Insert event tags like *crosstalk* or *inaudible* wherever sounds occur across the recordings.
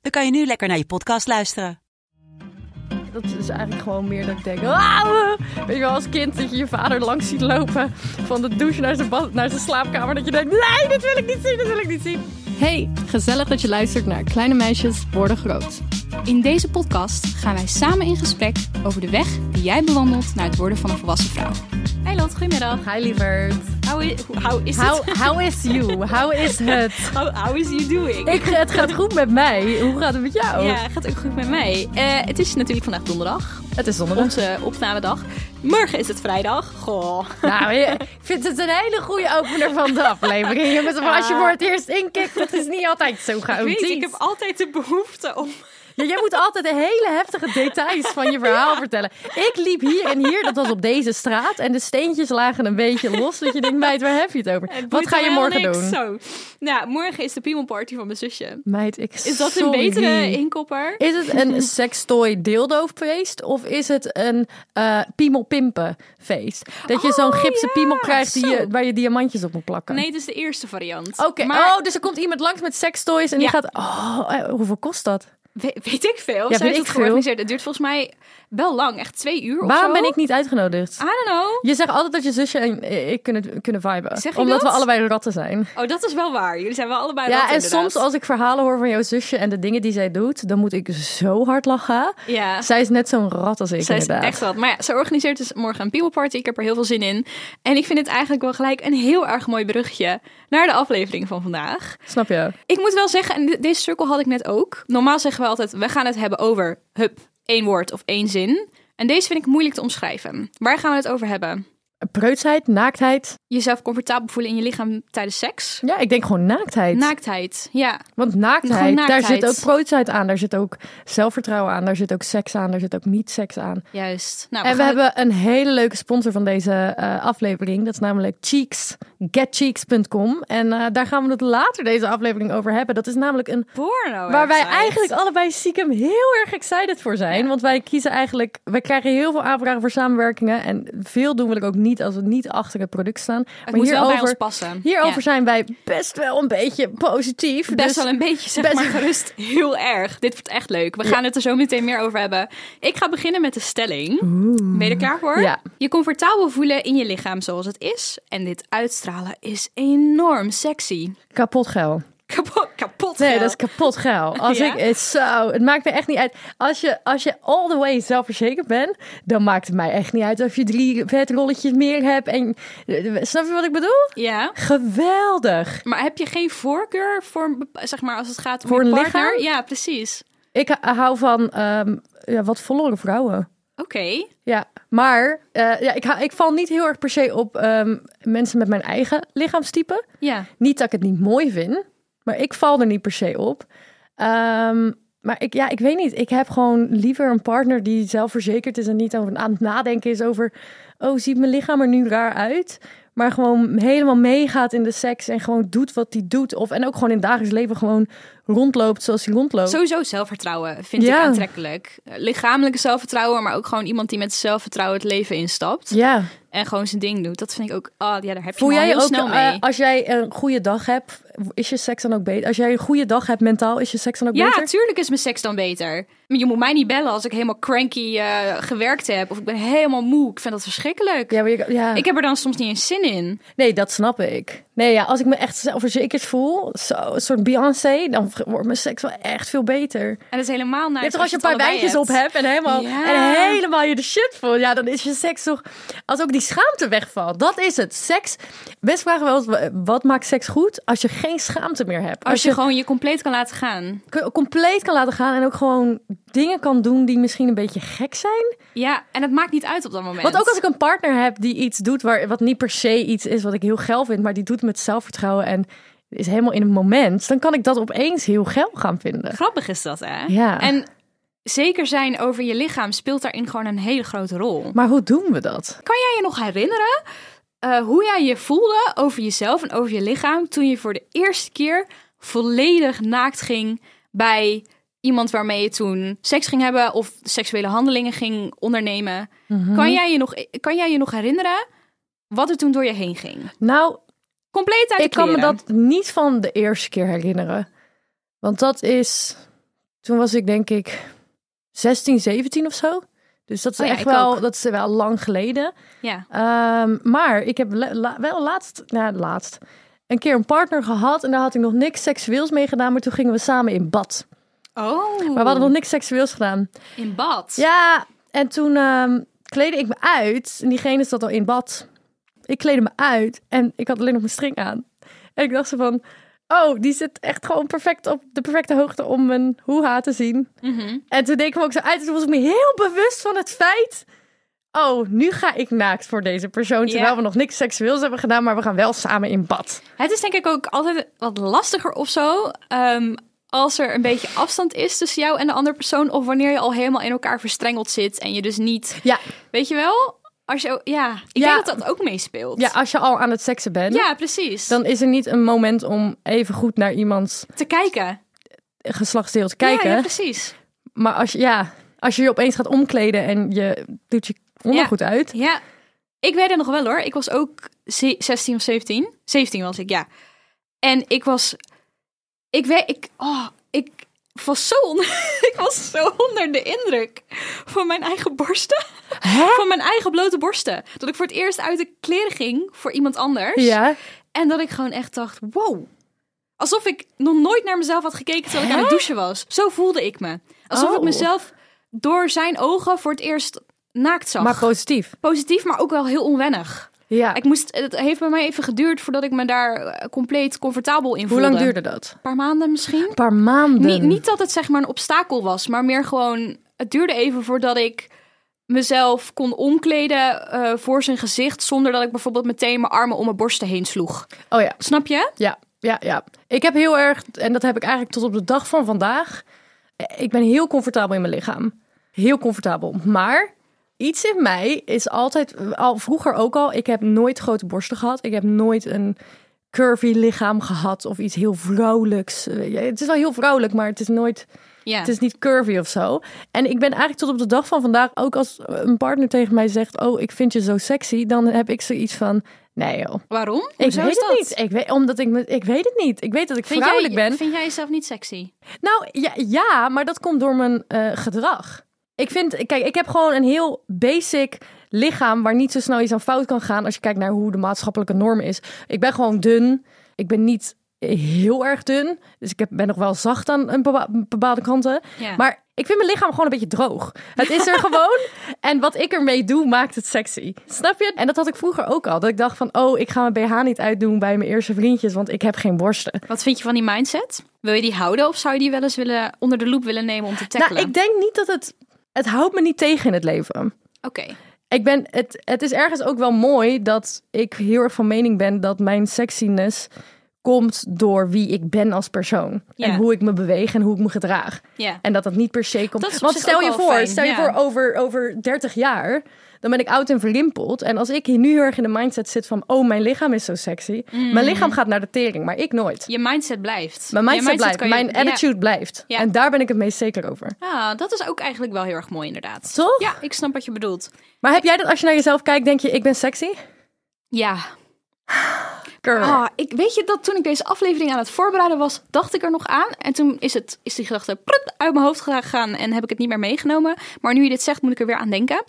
dan kan je nu lekker naar je podcast luisteren. Dat is eigenlijk gewoon meer dat ik denk... "Ah!" Weet je wel, als kind dat je je vader langs ziet lopen... van de douche naar zijn, bad, naar zijn slaapkamer... dat je denkt, nee, dit wil ik niet zien, dit wil ik niet zien. Hey, gezellig dat je luistert naar Kleine Meisjes Worden Groot. In deze podcast gaan wij samen in gesprek over de weg die jij bewandelt naar het worden van een volwassen vrouw. Hey Lot, goedemiddag. Hi lieverd. How is, how is How, how is you? How is het? *laughs* How, how is you doing? Ik, het gaat goed met mij. Hoe gaat het met jou? Ja, gaat ook goed met mij. Eh, het is natuurlijk vandaag donderdag, Het is zondag. onze opnamedag. Morgen is het vrijdag. Goh. Nou, ik vind het een hele goede opener van de *laughs* aflevering. Jongens, maar als je voor het eerst inkikt, dat is niet altijd zo chaotisch. Weet, ik heb altijd de behoefte om... Ja, jij moet altijd de hele heftige details van je verhaal vertellen. Ik liep hier en hier, dat was op deze straat. En de steentjes lagen een beetje los. Dat je denkt, meid, waar heb je het over? Het boeit Wat ga je me morgen helemaal doen? niks. Zo. Nou, morgen is de Piemel Party van mijn zusje. Meid, ik Is dat sorry. een betere inkopper? Is het *laughs* een sekstooi dildo feest of is het een eh piemel pimpen feest? Dat je Oh, zo'n gipsen ja, piemel krijgt die zo. je, waar je diamantjes op moet plakken. Nee, het is de eerste variant. Oké, Maar oh, dus er komt iemand langs met sekstoys en die Ja. gaat... Oh, eh, hoeveel kost dat? we- weet ik veel. Ja, Zij weet heeft ik het veel. georganiseerd. Het duurt volgens mij wel lang. Echt twee uur of Waarom zo. ben ik niet uitgenodigd? I don't know. Je zegt altijd dat je zusje en ik kunnen, kunnen viben. Zeg ik omdat dat? we allebei ratten zijn. Oh, dat is wel waar. Jullie zijn wel allebei Ja, ratten, en inderdaad. soms als ik verhalen hoor van jouw zusje en de dingen die zij doet, dan moet ik zo hard lachen. Ja. Zij is net zo'n rat als ik Zij is inderdaad. echt wat. Maar ja, ze organiseert dus morgen een People Party. Ik heb er heel veel zin in. En ik vind het eigenlijk wel gelijk een heel erg mooi brugje naar de aflevering van vandaag. Snap je? Ik moet wel zeggen, en de- deze cirkel had ik net ook. Normaal zeggen we altijd, we gaan het hebben over, hup, één woord of één zin. En deze vind ik moeilijk te omschrijven. Waar gaan we het over hebben? Preutsheid, naaktheid. Jezelf comfortabel voelen in je lichaam tijdens seks? Ja, ik denk gewoon naaktheid. Naaktheid, ja. Want naaktheid, Gewoon daar naaktheid. zit ook preutsheid aan. Daar zit ook zelfvertrouwen aan. Daar zit ook seks aan. Daar zit ook niet seks aan. Juist. Nou, En we gaan hebben een hele leuke sponsor van deze eh, aflevering. Dat is namelijk Cheeks. Getcheeks.com. En eh, daar gaan we het later deze aflevering over hebben. Dat is namelijk een porno Waar wij website. eigenlijk allebei stiekem heel erg excited voor zijn. Want wij kiezen eigenlijk, wij krijgen heel veel aanvragen voor samenwerkingen. En veel doen we er ook niet als we niet achter het product staan. Het moet wel bij ons passen. hierover Ja. zijn wij best wel een beetje positief. Best Dus wel een beetje, zeg best- *laughs* maar, gerust. Heel erg. Dit wordt echt leuk. We gaan het er zo meteen meer over hebben. Ik ga beginnen met de stelling. Ben je er klaar voor? Ja. Je comfortabel voelen in je lichaam zoals het is. En dit uitstralen is enorm sexy. kapot geil. Kapot. kapot Nee, geil. dat is kapot *laughs* geil. Als Ja? ik het zo, het maakt me echt niet uit. Als je, als je all the way zelfverzekerd bent, dan maakt het mij echt niet uit of je drie vetrolletjes meer hebt. En snap je wat ik bedoel? Ja. Geweldig. Maar heb je geen voorkeur voor, een bepa- zeg maar, als het gaat om Voor je een partner? lichaam? Ja, precies. Ik h- hou van ehm, ja, wat vollere vrouwen. Oké. Ja, maar eh, ja, ik, hou- ik val niet heel erg per se op ehm, mensen met mijn eigen lichaamstype. Ja. Niet dat ik het niet mooi vind, maar ik val er niet per se op. Ehm, maar ik, ja, ik weet niet. Ik heb gewoon liever een partner die zelfverzekerd is en niet over, aan het nadenken is over... Oh, ziet mijn lichaam er nu raar uit? Maar gewoon helemaal meegaat in de seks en gewoon doet wat hij doet. Of, en ook gewoon in het dagelijks leven gewoon rondloopt zoals hij rondloopt. Sowieso zelfvertrouwen vind Ja. ik aantrekkelijk. Lichamelijke zelfvertrouwen, maar ook gewoon iemand die met zelfvertrouwen het leven instapt. Ja. en gewoon zijn ding doet. Dat vind ik ook. Ah, ja, daar heb je Voel me al jij je heel ook, snel eh, mee. als jij een goede dag hebt, is je seks dan ook beter? Als jij een goede dag hebt mentaal, is je seks dan ook ja, beter? tuurlijk is mijn seks dan beter. Maar je moet mij niet bellen als ik helemaal cranky eh, gewerkt heb of ik ben helemaal moe. Ik vind dat verschrikkelijk. Ja, maar je- ja. Ik heb er dan soms niet eens zin in. nee, dat snap ik. Nee, ja, als ik me echt zelfverzekerd voel, zo, een soort Beyoncé, dan wordt mijn seks wel echt veel beter. En dat is helemaal naar. Je hebt toch als je een paar wijntjes op hebt en helemaal, Ja. en helemaal je de shit voelt, ja, dan is je seks toch... Als ook die schaamte wegvalt, dat is het. Seks, best vragen wel eens, wat maakt seks goed? Als je geen schaamte meer hebt. Als je gewoon je compleet kan laten gaan. k- compleet kan laten gaan en ook gewoon dingen kan doen die misschien een beetje gek zijn. Ja, en het maakt niet uit op dat moment. Want ook als ik een partner heb die iets doet waar, wat niet per se iets is wat ik heel geil vind, maar die doet met zelfvertrouwen en is helemaal in het moment, dan kan ik dat opeens heel geil gaan vinden. Grappig is dat, hè? Ja. En zeker zijn over je lichaam speelt daarin gewoon een hele grote rol. Maar hoe doen we dat? Kan jij je nog herinneren eh, hoe jij je voelde over jezelf en over je lichaam toen je voor de eerste keer volledig naakt ging bij iemand waarmee je toen seks ging hebben of seksuele handelingen ging ondernemen? Mhm. Kan, jij je nog, kan jij je nog herinneren wat er toen door je heen ging? Nou, Compleet uit de ik kan me kleren. dat niet van de eerste keer herinneren. Want dat is. Toen was ik denk ik 16, 17 of zo. Dus dat is Oh ja, echt ik wel, ook. dat is wel lang geleden. Ja. Ehm, maar ik heb le- la- wel laatst, nou laatst, een keer een partner gehad. En daar had ik nog niks seksueels mee gedaan. Maar toen gingen we samen in bad. Oh. Maar we hadden nog niks seksueels gedaan. in bad. Ja, en toen ehm kleedde ik me uit. En diegene zat al in bad. Ik kleedde me uit en ik had alleen nog mijn string aan. En ik dacht zo van... Oh, die zit echt gewoon perfect op de perfecte hoogte om mijn hoeha te zien. Mhm. En toen deed ik hem ook zo uit. En toen was ik me heel bewust van het feit... Oh, nu ga ik naakt voor deze persoon. Terwijl Ja. we nog niks seksueels hebben gedaan, maar we gaan wel samen in bad. Het is denk ik ook altijd wat lastiger of zo. ehm, als er een beetje afstand is tussen jou en de andere persoon. Of wanneer je al helemaal in elkaar verstrengeld zit. En je dus niet. Ja, Weet je wel? Als je, ja, ik Ja. denk dat dat ook meespeelt. ja als je al aan het seksen bent, Ja, precies. dan is er niet een moment om even goed naar iemands te kijken. geslachtsdeel te kijken. Ja, ja, precies. Maar als je, ja, als je je opeens gaat omkleden en je doet je ondergoed uit. Ja, ik weet het nog wel hoor. Ik was ook ze- 16 of 17. 17 was ik, ja. En ik was. Ik weet. Ik, oh, ik was zo onder, *laughs* ik was zo onder de indruk van mijn eigen borsten. Van mijn eigen blote borsten. Dat ik voor het eerst uit de kleren ging voor iemand anders. Ja. En dat ik gewoon echt dacht: wow. Alsof ik nog nooit naar mezelf had gekeken terwijl ik aan het douchen was. Zo voelde ik me. Alsof ik Oh. mezelf door zijn ogen voor het eerst naakt zag Maar positief. positief, maar ook wel heel onwennig. Ja. Ik moest, het heeft bij mij even geduurd voordat ik me daar eh, compleet comfortabel in Hoe voelde. lang duurde dat? Een paar maanden misschien. Een paar maanden. Niet, niet dat het zeg maar een obstakel was, maar meer gewoon... Het duurde even voordat ik mezelf kon omkleden eh, voor zijn gezicht... zonder dat ik bijvoorbeeld meteen mijn armen om mijn borsten heen sloeg. Oh ja. Snap je? Ja, ja, ja. Ik heb heel erg, en dat heb ik eigenlijk tot op de dag van vandaag. eh, Ik ben heel comfortabel in mijn lichaam. Heel comfortabel. Maar iets in mij is altijd, al vroeger ook al, ik heb nooit grote borsten gehad. Ik heb nooit een curvy lichaam gehad of iets heel vrouwelijks. Eh, ja, Het is wel heel vrouwelijk, maar het is nooit Ja. Het is niet curvy of zo. En ik ben eigenlijk tot op de dag van vandaag, ook als een partner tegen mij zegt: Oh, ik vind je zo sexy, dan heb ik zoiets van: Nee, joh. Waarom? Ik Hoezo weet is dat? het niet. Ik weet, omdat ik, me, ik weet het niet. Ik weet dat ik Vind vrouwelijk jij, ben. Vind jij jezelf niet sexy? Nou ja, ja, maar dat komt door mijn eh, gedrag. Ik vind, kijk, ik heb gewoon een heel basic lichaam waar niet zo snel iets aan fout kan gaan als je kijkt naar hoe de maatschappelijke norm is. Ik ben gewoon dun. Ik ben niet heel erg dun. Dus ik heb, ben nog wel zacht aan een bepa- bepaalde kanten. Ja. Maar ik vind mijn lichaam gewoon een beetje droog. Het is er gewoon. En wat ik ermee doe, maakt het sexy. Snap je? En dat had ik vroeger ook al. Dat ik dacht van, oh, ik ga mijn BH niet uitdoen bij mijn eerste vriendjes, want ik heb geen borsten. Wat vind je van die mindset? Wil je die houden of zou je die wel eens willen, onder de loep willen nemen om te tackelen? Nou, ik denk niet dat het. Het houdt me niet tegen in het leven. Oké. Ik ben, het, het is ergens ook wel mooi dat ik heel erg van mening ben dat mijn sexiness komt door wie ik ben als persoon. Ja. En hoe ik me beweeg en hoe ik me gedraag. Ja. En dat dat niet per se komt. Dat is op Want zich stel ook je wel voor, fijn, stel je ja. voor over, over 30 jaar, dan ben ik oud en verlimpeld. En als ik hier nu heel erg in de mindset zit van, oh, mijn lichaam is zo sexy. Mijn lichaam gaat naar de tering, maar ik nooit. Je mindset blijft. Mijn Je mindset, blijft, kan je- mijn Mm. ja. attitude blijft. Ja. En daar ben ik het meest zeker over. Ah, dat is ook eigenlijk wel heel erg mooi, inderdaad. Toch? Ja, ik snap wat je bedoelt. Maar heb jij dat als je naar jezelf kijkt, denk je, ik ben sexy? Ja. Girl. Ah, ik, weet je dat toen ik deze aflevering aan het voorbereiden was, dacht ik er nog aan. En toen is, het, is die gedachte prut uit mijn hoofd gegaan en heb ik het niet meer meegenomen. Maar nu je dit zegt, moet ik er weer aan denken.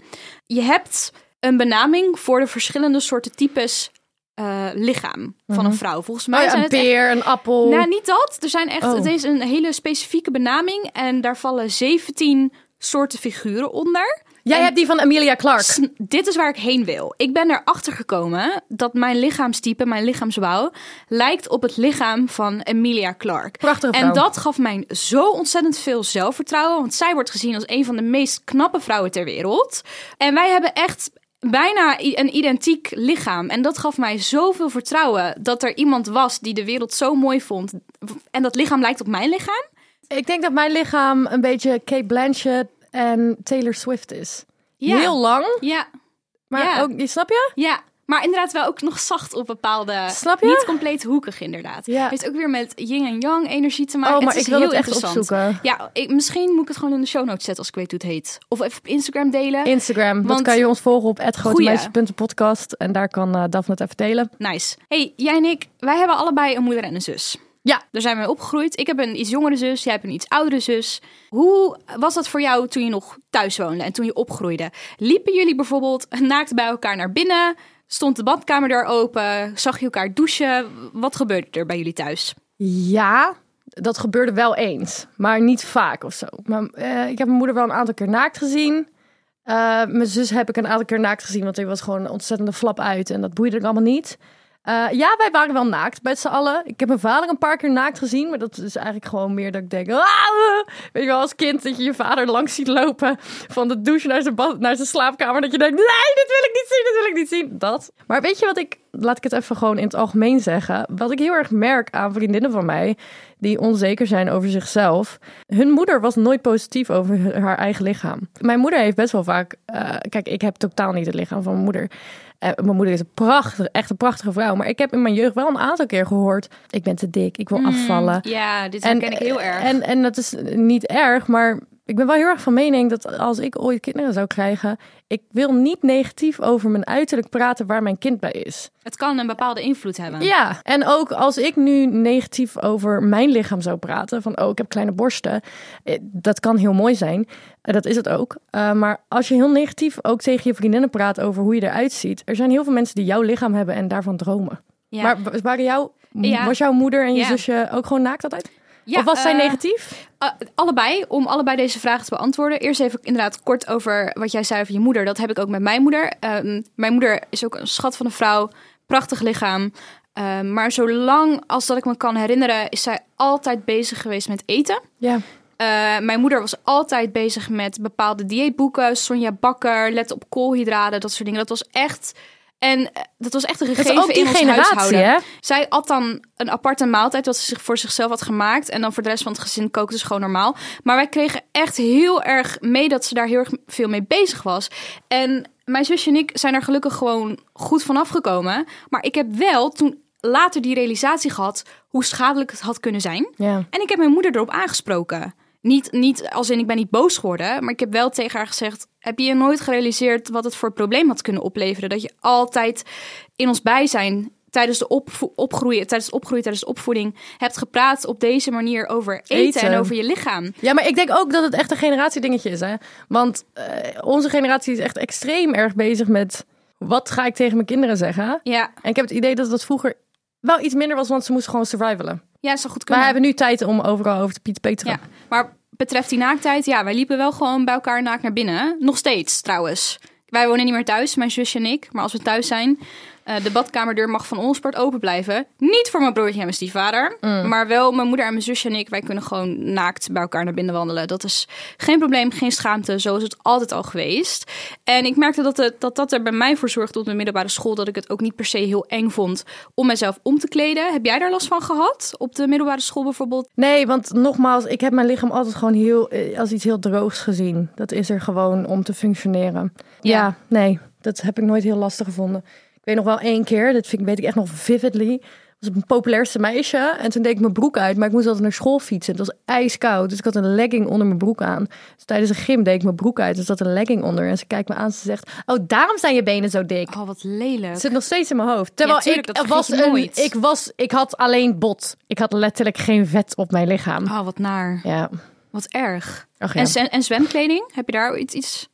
Je hebt een benaming voor de verschillende soorten types eh, lichaam van een vrouw. Volgens mij Oh ja, zijn een het echt- peer, een appel. Nou, niet dat. Er zijn echt, Oh. het is een hele specifieke benaming en daar vallen 17 soorten figuren onder. jij hebt die van Amelia Clark. Sn- *clears throat* dit is waar ik heen wil. Ik ben erachter gekomen dat mijn lichaamstype, mijn lichaamsbouw, lijkt op het lichaam van Emilia Clarke. Prachtige vrouw. En dat gaf mij zo ontzettend veel zelfvertrouwen, want zij wordt gezien als een van de meest knappe vrouwen ter wereld. En wij hebben echt bijna i- een identiek lichaam. En dat gaf mij zoveel vertrouwen dat er iemand was die de wereld zo mooi vond. En dat lichaam lijkt op mijn lichaam. Ik denk dat mijn lichaam een beetje Kate Blanchett en Taylor Swift is. Ja. Heel lang, Ja, maar Ja. ook, je snap je? ja. Maar inderdaad wel ook nog zacht op bepaalde... Snap je? Niet compleet hoekig inderdaad. Ja. Heeft ook weer met yin en yang energie te maken. oh, maar is ik wil heel het echt interessant. opzoeken. Ja, Nou, ik, misschien moet ik het gewoon in de show notes zetten als ik weet hoe het heet. Of even op Instagram delen. Instagram, want Want- kan je ons volgen op @grotemeisjes.podcast en daar kan eh, Daphne het even delen. Nice. Hey, jij en ik, wij hebben allebei een moeder en een zus. Ja. Daar zijn we mee opgegroeid. Ik heb een iets jongere zus, jij hebt een iets oudere zus. Hoe was dat voor jou toen je nog thuis woonde en toen je opgroeide? Liepen jullie bijvoorbeeld naakt bij elkaar naar binnen? Stond de badkamer daar open? Zag je elkaar douchen? Wat gebeurde er bij jullie thuis? Ja, dat gebeurde wel eens, maar niet vaak of zo. Maar eh, ik heb mijn moeder wel een aantal keer naakt gezien. Eh, mijn zus heb ik een aantal keer naakt gezien, want die was gewoon een ontzettende flap uit en dat boeide ik allemaal niet. Eh, ja, wij waren wel naakt, met z'n allen. Ik heb mijn vader een paar keer naakt gezien, maar dat is eigenlijk gewoon meer dat ik denk... "Ah!" Weet je wel, als kind dat je je vader langs ziet lopen van de douche naar zijn, bad, naar zijn slaapkamer. Dat je denkt, nee, dit wil ik niet zien, dit wil ik niet zien. Dat. Maar weet je wat ik, laat ik het even gewoon in het algemeen zeggen. Wat ik heel erg merk aan vriendinnen van mij, die onzeker zijn over zichzelf. Hun moeder was nooit positief over hun- haar eigen lichaam. Mijn moeder heeft best wel vaak, eh, kijk, ik heb totaal niet het lichaam van mijn moeder. Eh, mijn moeder is een prachtige, echt een prachtige vrouw. Maar ik heb in mijn jeugd wel een aantal keer gehoord: ik ben te dik, ik wil afvallen. Hmm, Ja, dit herken ik heel erg. En, en dat is niet erg, maar ik ben wel heel erg van mening dat als ik ooit kinderen zou krijgen, ik wil niet negatief over mijn uiterlijk praten waar mijn kind bij is. het kan een bepaalde invloed hebben. Ja, en ook als ik nu negatief over mijn lichaam zou praten, van oh, ik heb kleine borsten, eh, dat kan heel mooi zijn, Eh, dat is het ook. Eh, maar als je heel negatief ook tegen je vriendinnen praat over hoe je eruit ziet, er zijn heel veel mensen die jouw lichaam hebben en daarvan dromen. Ja. Maar wa- waren jouw, Ja. was jouw moeder en je Ja. zusje ook gewoon naakt altijd? Ja, of was zij eh, negatief? Eh, allebei, om allebei deze vragen te beantwoorden. Eerst even inderdaad kort over wat jij zei over je moeder. Dat heb ik ook met mijn moeder. Ehm, mijn moeder is ook een schat van een vrouw. Prachtig lichaam. Ehm, maar zolang als dat ik me kan herinneren, is zij altijd bezig geweest met eten. Ja. Eh, mijn moeder was altijd bezig met bepaalde dieetboeken. Sonja Bakker, let op koolhydraten, dat soort dingen. Dat was echt... En eh, dat was echt een Dat gegeven is ook die in ons generatie, huishouden. hè? Zij at dan een aparte maaltijd wat ze zich voor zichzelf had gemaakt. En dan voor de rest van het gezin kookte ze gewoon normaal. Maar wij kregen echt heel erg mee dat ze daar heel erg veel mee bezig was. En mijn zusje en ik zijn er gelukkig gewoon goed van afgekomen. Maar ik heb wel toen later die realisatie gehad hoe schadelijk het had kunnen zijn. Ja. En ik heb mijn moeder erop aangesproken. Niet, niet als in ik ben niet boos geworden, maar ik heb wel tegen haar gezegd: Heb je je nooit gerealiseerd wat het voor probleem had kunnen opleveren? Dat je altijd in ons bijzijn tijdens de opvo- opgroeien, tijdens het opgroeien, tijdens de opvoeding hebt gepraat op deze manier over eten, Eten. en over je lichaam. Ja, maar ik denk ook dat het echt een generatiedingetje is, hè? Want eh, onze generatie is echt extreem erg bezig met wat ga ik tegen mijn kinderen zeggen. Ja, En ik heb het idee dat dat vroeger wel iets minder was, want ze moesten gewoon survivalen. ja, dat zou goed Maar kunnen. we hebben nu tijd om overal over te Piet Peteren. ja. maar betreft die naaktheid, ja, wij liepen wel gewoon bij elkaar naakt naar binnen. Nog steeds trouwens. Wij wonen niet meer thuis, mijn zusje en ik. Maar als we thuis zijn, eh, de badkamerdeur mag van ons part open blijven. Niet voor mijn broertje en mijn stiefvader. Maar wel mijn moeder en mijn zusje en ik. Wij kunnen gewoon naakt bij elkaar naar binnen wandelen. Dat is geen probleem, geen schaamte. Zo is het altijd al geweest. En ik merkte dat het, dat, dat er bij mij voor zorgde op de middelbare school. Dat ik het ook niet per se heel eng vond om mezelf om te kleden. Heb jij daar last van gehad? Op de middelbare school bijvoorbeeld? Nee, want nogmaals, ik heb mijn lichaam altijd gewoon heel, eh, als iets heel droogs gezien. Dat is er gewoon om te functioneren. Ja, Ja. nee, dat heb ik nooit heel lastig gevonden. Ik weet nog wel één keer, dat vind, ik- weet ik echt nog vividly. was ik mijn populairste meisje en toen deed ik mijn broek uit, maar ik moest altijd naar school fietsen. Het was ijskoud, dus ik had een legging onder mijn broek aan. Dus tijdens de gym deed ik mijn broek uit, dus zat een legging onder. En ze kijkt me aan, ze zegt, oh, daarom zijn je benen zo dik. Oh, wat lelijk. Het zit nog steeds in mijn hoofd. Terwijl Ja, tuurlijk, ik, dat was vergeet je een, nooit. ik was, ik had alleen bot. Ik had letterlijk geen vet op mijn lichaam. Oh, wat naar. Ja. Wat erg. Ach, En, zwe- en zwemkleding? Heb je daar iets, iets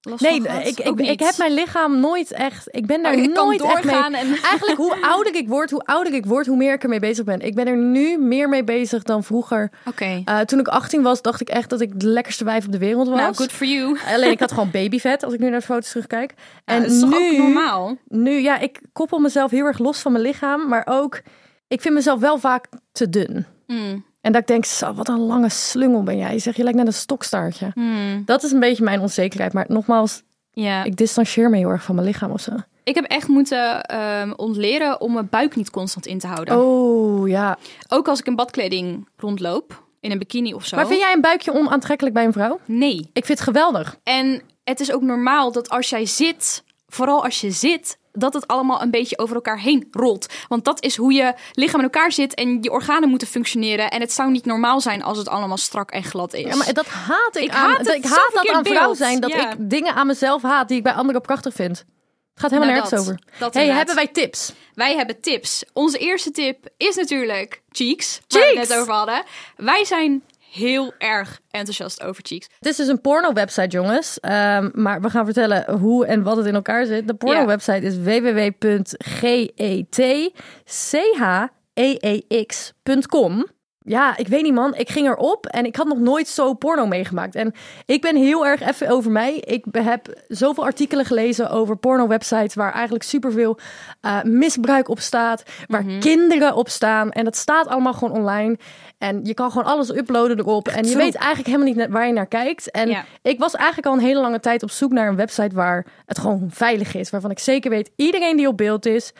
last nee, van gehad? ik, ik, Ook ik niet. heb mijn lichaam nooit echt. Ik ben daar Oh, je kan nooit echt mee. doorgaan en- *laughs* Eigenlijk hoe ouder ik word, hoe ouder ik word, hoe meer ik ermee bezig ben. Ik ben er nu meer mee bezig dan vroeger. Oké. Nou, Eh, toen ik 18 was, dacht ik echt dat ik de lekkerste wijf op de wereld was. nou, good for you. Alleen ik had gewoon babyvet als ik nu naar de foto's terugkijk. En dat is toch ook normaal? nu, ja, ik koppel mezelf heel erg los van mijn lichaam, maar ook, ik vind mezelf wel vaak te dun. Mm. En dat ik denk, zo, wat een lange slungel ben jij. Zeg, je lijkt net een stokstaartje. Mm. Dat is een beetje mijn onzekerheid. Maar nogmaals, Ja. Ik, Ik distancieer me heel erg van mijn lichaam of zo. ik heb echt moeten ehm, ontleren om mijn buik niet constant in te houden. Oh ja. Ook als ik in badkleding rondloop, in een bikini of zo. Maar vind jij een buikje onaantrekkelijk bij een vrouw? Nee. Ik vind het geweldig. En het is ook normaal dat als jij zit, vooral als je zit, dat het allemaal een beetje over elkaar heen rolt. Want dat is hoe je lichaam in elkaar zit en je organen moeten functioneren. En het zou niet normaal zijn als het allemaal strak en glad is. Ja, maar dat haat ik, Ik aan. haat het ik zo haat dat verkeerd aan vrouw beeld. zijn. Dat Ja. ik dingen aan mezelf haat die ik bij anderen prachtig vind. Het gaat helemaal Nou, nergens dat. over. Dat hey, inderdaad. hebben wij tips? Wij hebben tips. Onze eerste tip is natuurlijk Cheeks, waar we Cheeks! het net over hadden. Wij zijn heel erg enthousiast over Cheeks. Dit is dus een porno-website, jongens. Ehm, maar we gaan vertellen hoe en wat het in elkaar zit. De porno-website is e www.getcheex.com. Ja, ik weet niet, man. Ik ging erop en ik had nog nooit zo porno meegemaakt. En ik ben heel erg even over mij. Ik be- heb zoveel artikelen gelezen over porno-websites waar eigenlijk superveel eh, misbruik op staat, waar kinderen op staan. En dat staat allemaal gewoon online. En je kan gewoon alles uploaden erop. En je troep. weet eigenlijk helemaal niet naar waar je naar kijkt. En Ja. ik was eigenlijk al een hele lange tijd op zoek naar een website waar het gewoon veilig is. Waarvan ik zeker weet, iedereen die op beeld is,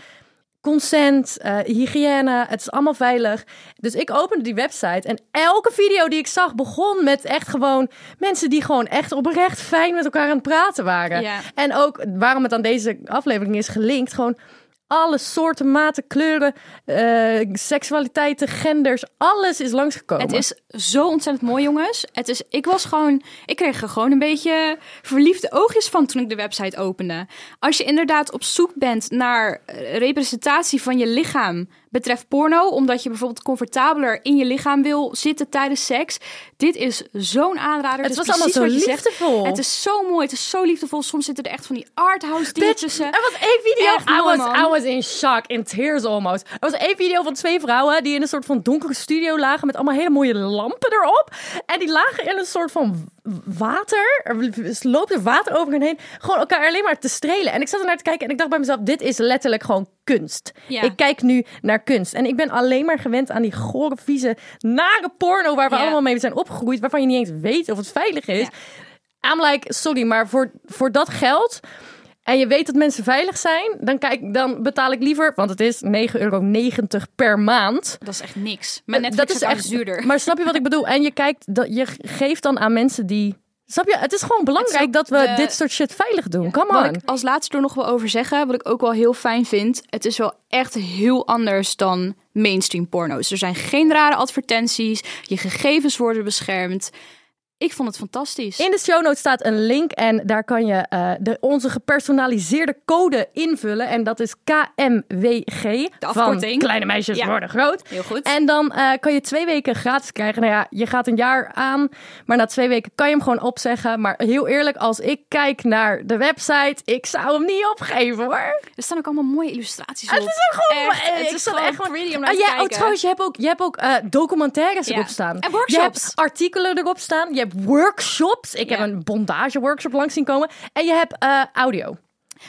consent, eh, hygiëne, het is allemaal veilig. Dus ik opende die website en elke video die ik zag begon met echt gewoon mensen die gewoon echt oprecht fijn met elkaar aan het praten waren. Ja. En ook waarom het aan deze aflevering is gelinkt, gewoon alle soorten, maten, kleuren, eh, seksualiteiten, genders, alles is langsgekomen. Het is zo ontzettend mooi, jongens. Het is, ik was gewoon, ik kreeg er gewoon een beetje verliefde oogjes van toen ik de website opende. Als je inderdaad op zoek bent naar eh, representatie van je lichaam betreft porno, omdat je bijvoorbeeld comfortabeler in je lichaam wil zitten tijdens seks, dit is zo'n aanrader. Het is was allemaal precies zo wat je zegt. liefdevol. Het is zo mooi, het is zo liefdevol. Soms zitten er echt van die arthouse dingen Bitch, tussen. Er was één video. Echt I, was, mooi, man. I was in shock, in tears almost. Er was één video van twee vrouwen die in een soort van donkere studio lagen met allemaal hele mooie lampen erop. En die lagen in een soort van w- water. Er loopt er water over hen heen. Gewoon elkaar alleen maar te strelen. En ik zat ernaar te kijken en ik dacht bij mezelf: dit is letterlijk gewoon kunst. Ja. Ik kijk nu naar kunst. En ik ben alleen maar gewend aan die gore, vieze, nare porno waar we Ja. allemaal mee zijn opgegroeid. Waarvan je niet eens weet of het veilig is. I'm like, sorry, maar voor, voor dat geld en je weet dat mensen veilig zijn, dan, kijk, dan betaal ik liever, want het is 9,90 euro per maand. Dat is echt niks. Maar net dat is echt zuurder. Maar snap je wat ik bedoel? En je kijkt, dat, je geeft dan aan mensen die. Snap je? Het is gewoon belangrijk Het is dat ook we de- dit soort shit veilig doen. Come on. Wat ik als laatste er nog wel over zeggen, wat ik ook wel heel fijn vind. Het is wel echt heel anders dan mainstream porno's. Er zijn geen rare advertenties. Je gegevens worden beschermd. Ik vond het fantastisch. In de show notes staat een link en daar kan je eh, de, onze gepersonaliseerde code invullen. En dat is KMWG. Van afkorting. kleine meisjes Ja. worden groot. Heel goed. En dan eh, kan je twee weken gratis krijgen. Nou ja, je gaat een jaar aan, maar na twee weken kan je hem gewoon opzeggen. Maar heel eerlijk, als ik kijk naar de website, ik zou hem niet opgeven hoor. Er staan ook allemaal mooie illustraties op. Het is ook gewoon... Echt, eh, het ik is zat gewoon echt gewoon- pretty om naar Ah, te ja, kijken. Oh, trouwens, je hebt ook, je hebt ook eh, documentaires Ja. erop staan. En workshops. Je hebt artikelen erop staan. Je hebt workshops. Ik Ja. heb een bondageworkshop langs zien komen. En je hebt eh, audio.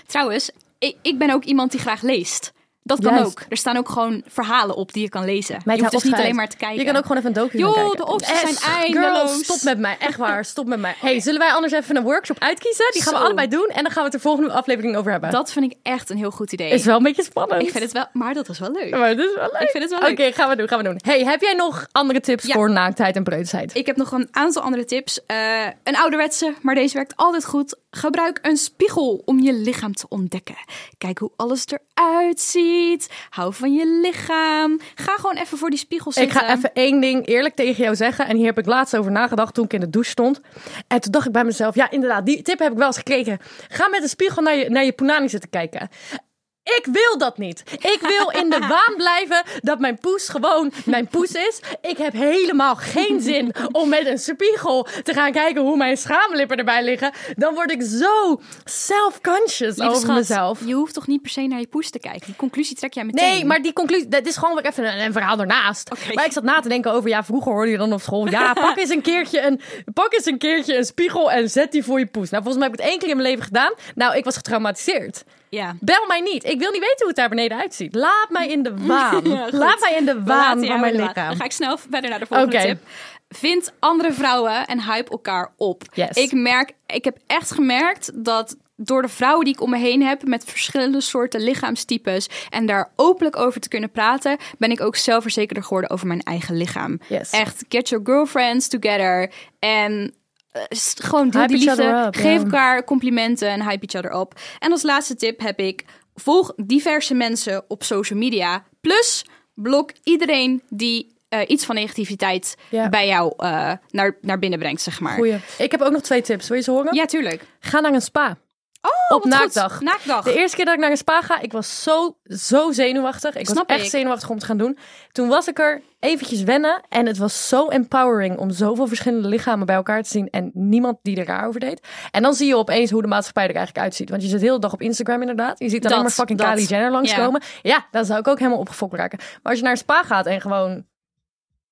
Trouwens, ik, ik ben ook iemand die graag leest. Dat kan Juist. ook. Er staan ook gewoon verhalen op die je kan lezen. Meid, je hou hoeft dus op, niet schijt. alleen maar te kijken. Je kan ook gewoon even een docu Joh, gaan kijken. de opties Eh, zijn girl, eindeloos. stop met mij. Echt waar, stop met mij. Hey, zullen wij anders even een workshop uitkiezen? Die gaan we Zo. allebei doen. En dan gaan we het de volgende aflevering over hebben. Dat vind ik echt een heel goed idee. is wel een beetje spannend. Ik vind het wel, maar dat is wel leuk. Maar dat is wel leuk. Ik vind het wel Oké, leuk. gaan we doen, gaan we doen. Hey, heb jij nog andere tips Ja. voor naaktheid en preutsheid? Ik heb nog een aantal andere tips. Eh, een ouderwetse, maar deze werkt altijd goed. Gebruik een spiegel om je lichaam te ontdekken. Kijk hoe alles eruit ziet. Hou van je lichaam. Ga gewoon even voor die spiegel Ik zitten. ga even één ding eerlijk tegen jou zeggen. En hier heb ik laatst over nagedacht toen ik in de douche stond. En toen dacht ik bij mezelf, ja inderdaad, die tip heb ik wel eens gekregen. Ga met een spiegel naar je, naar je punani zitten kijken. Ik wil dat niet. Ik wil *laughs* in de waan blijven dat mijn poes gewoon mijn poes is. Ik heb helemaal geen zin om met een spiegel te gaan kijken hoe mijn schaamlippen erbij liggen. Dan word ik zo self-conscious Lieve over schat, mezelf. Je hoeft toch niet per se naar je poes te kijken. Die conclusie trek jij meteen. Nee, maar die conclusie, dat is gewoon weer even een, een verhaal ernaast. Oké. Maar ik zat na te denken over, ja, vroeger hoorde je dan op school, *laughs* ja, pak eens een keertje een, pak eens een keertje een spiegel en zet die voor je poes. Nou, volgens mij heb ik het één keer in mijn leven gedaan. Nou, ik was getraumatiseerd. Ja. Bel mij niet. Ik wil niet weten hoe het daar beneden uitziet. Laat mij in de waan. Ja, goed. Laat mij in de We waan laten jou van mijn in de waan. lichaam. Dan ga ik snel verder naar de volgende Oké. tip. Vind andere vrouwen en hype elkaar op. Yes. Ik merk, ik heb echt gemerkt dat door de vrouwen die ik om me heen heb met verschillende soorten lichaamstypes en daar openlijk over te kunnen praten, ben ik ook zelfverzekerder geworden over mijn eigen lichaam. Yes. Echt, get your girlfriends together en eh, s- gewoon deel Hype die each liefde, other up, geef ja. elkaar complimenten en hype each other op. En als laatste tip heb ik, volg diverse mensen op social media, plus blok iedereen die eh, iets van negativiteit Ja. bij jou eh, naar, naar binnen brengt, zeg maar. Goeie. Ik heb ook nog twee tips. Wil je ze horen? Ja, tuurlijk. Ga naar een spa. Oh, Op wat goed. naaktdag. Naaktdag. De eerste keer dat ik naar een spa ga, ik was zo, zo zenuwachtig. Ik Snap was echt ik. zenuwachtig om te gaan doen. Toen was ik er eventjes wennen en het was zo empowering om zoveel verschillende lichamen bij elkaar te zien en niemand die er raar over deed. En dan zie je opeens hoe de maatschappij er eigenlijk uitziet. Want je zit de hele dag op Instagram inderdaad. Je ziet alleen Dat, maar fucking dat. Kylie Jenner langskomen. Ja. dan zou ik ook helemaal opgefokt raken. Maar als je naar een spa gaat en gewoon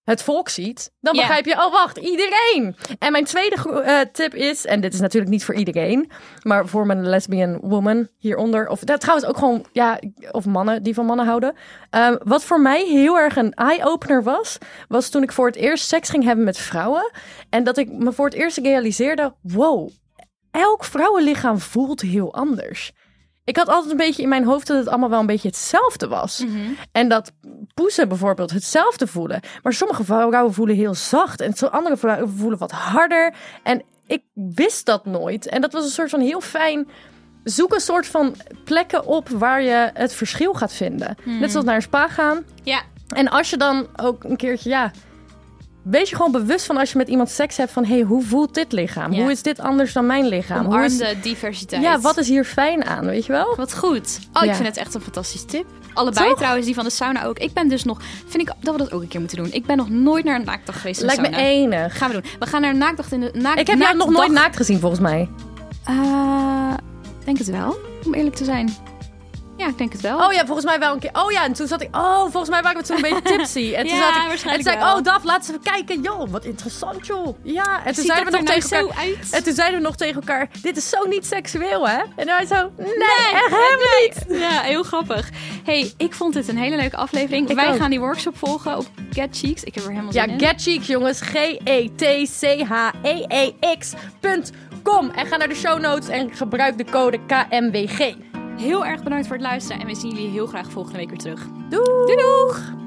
het volk ziet, dan Ja. begrijp je, oh wacht, iedereen. En mijn tweede gro- eh, tip is, en dit is natuurlijk niet voor iedereen, maar voor mijn lesbian woman hieronder, of dat trouwens ook gewoon, ja, of mannen die van mannen houden. Ehm, wat voor mij heel erg een eye-opener was, was toen ik voor het eerst seks ging hebben met vrouwen. En dat ik me voor het eerst realiseerde, wow, elk vrouwenlichaam voelt heel anders. Ik had altijd een beetje in mijn hoofd dat het allemaal wel een beetje hetzelfde was. Mhm. En dat poezen bijvoorbeeld hetzelfde voelen. Maar sommige vrouwen voelen heel zacht en zo- andere vrouwen voelen wat harder. En ik wist dat nooit. En dat was een soort van heel fijn. Zoek een soort van plekken op waar je het verschil gaat vinden. Net zoals naar een spa gaan. Mhm. Ja, En als je dan ook een keertje, ja. Wees je gewoon bewust van als je met iemand seks hebt van hey, hoe voelt dit lichaam? Ja. Hoe is dit anders dan mijn lichaam? Hoe is- omarmde diversiteit. ja, wat is hier fijn aan, weet je wel? Wat goed. Oh, ik Ja. vind het echt een fantastische tip. Allebei Toch? trouwens, die van de sauna ook. Ik ben dus nog... Vind ik dat we dat ook een keer moeten doen. Ik ben nog nooit naar een naaktdag geweest in de Lijkt me sauna. enig. Gaan we doen. We gaan naar een naaktdag in de... Naak, Ik heb jou nog naaktdag- nooit naakt gezien, volgens mij. Eh, denk het wel, om eerlijk te zijn. Ja, ik denk het wel. Oh ja, volgens mij wel een keer. Oh ja, en toen zat ik... Oh, volgens mij waren we toen een *laughs* beetje tipsy. En toen Ja, zat ik, waarschijnlijk En toen zei wel. ik, oh Daf, laten we even kijken. Joh, wat interessant joh. Ja, en toen Ziet zeiden we dat nog er nou tegen elkaar... zo uit? En toen zeiden we nog tegen elkaar, dit is zo niet seksueel, hè? En hij zo, "Mm." nee, Nee, echt helemaal niet. Ja, heel grappig. hey, ik vond dit een hele leuke aflevering. Ik Wij ook. gaan die workshop volgen op Get Cheeks. Ik heb er helemaal Ja, zin in. Get Cheeks, jongens. E G-E-T-C-H-E-E-X.com. En ga naar de show notes en gebruik de code KMWG. Heel erg bedankt voor het luisteren. En we zien jullie heel graag volgende week weer terug. Doei! Doei!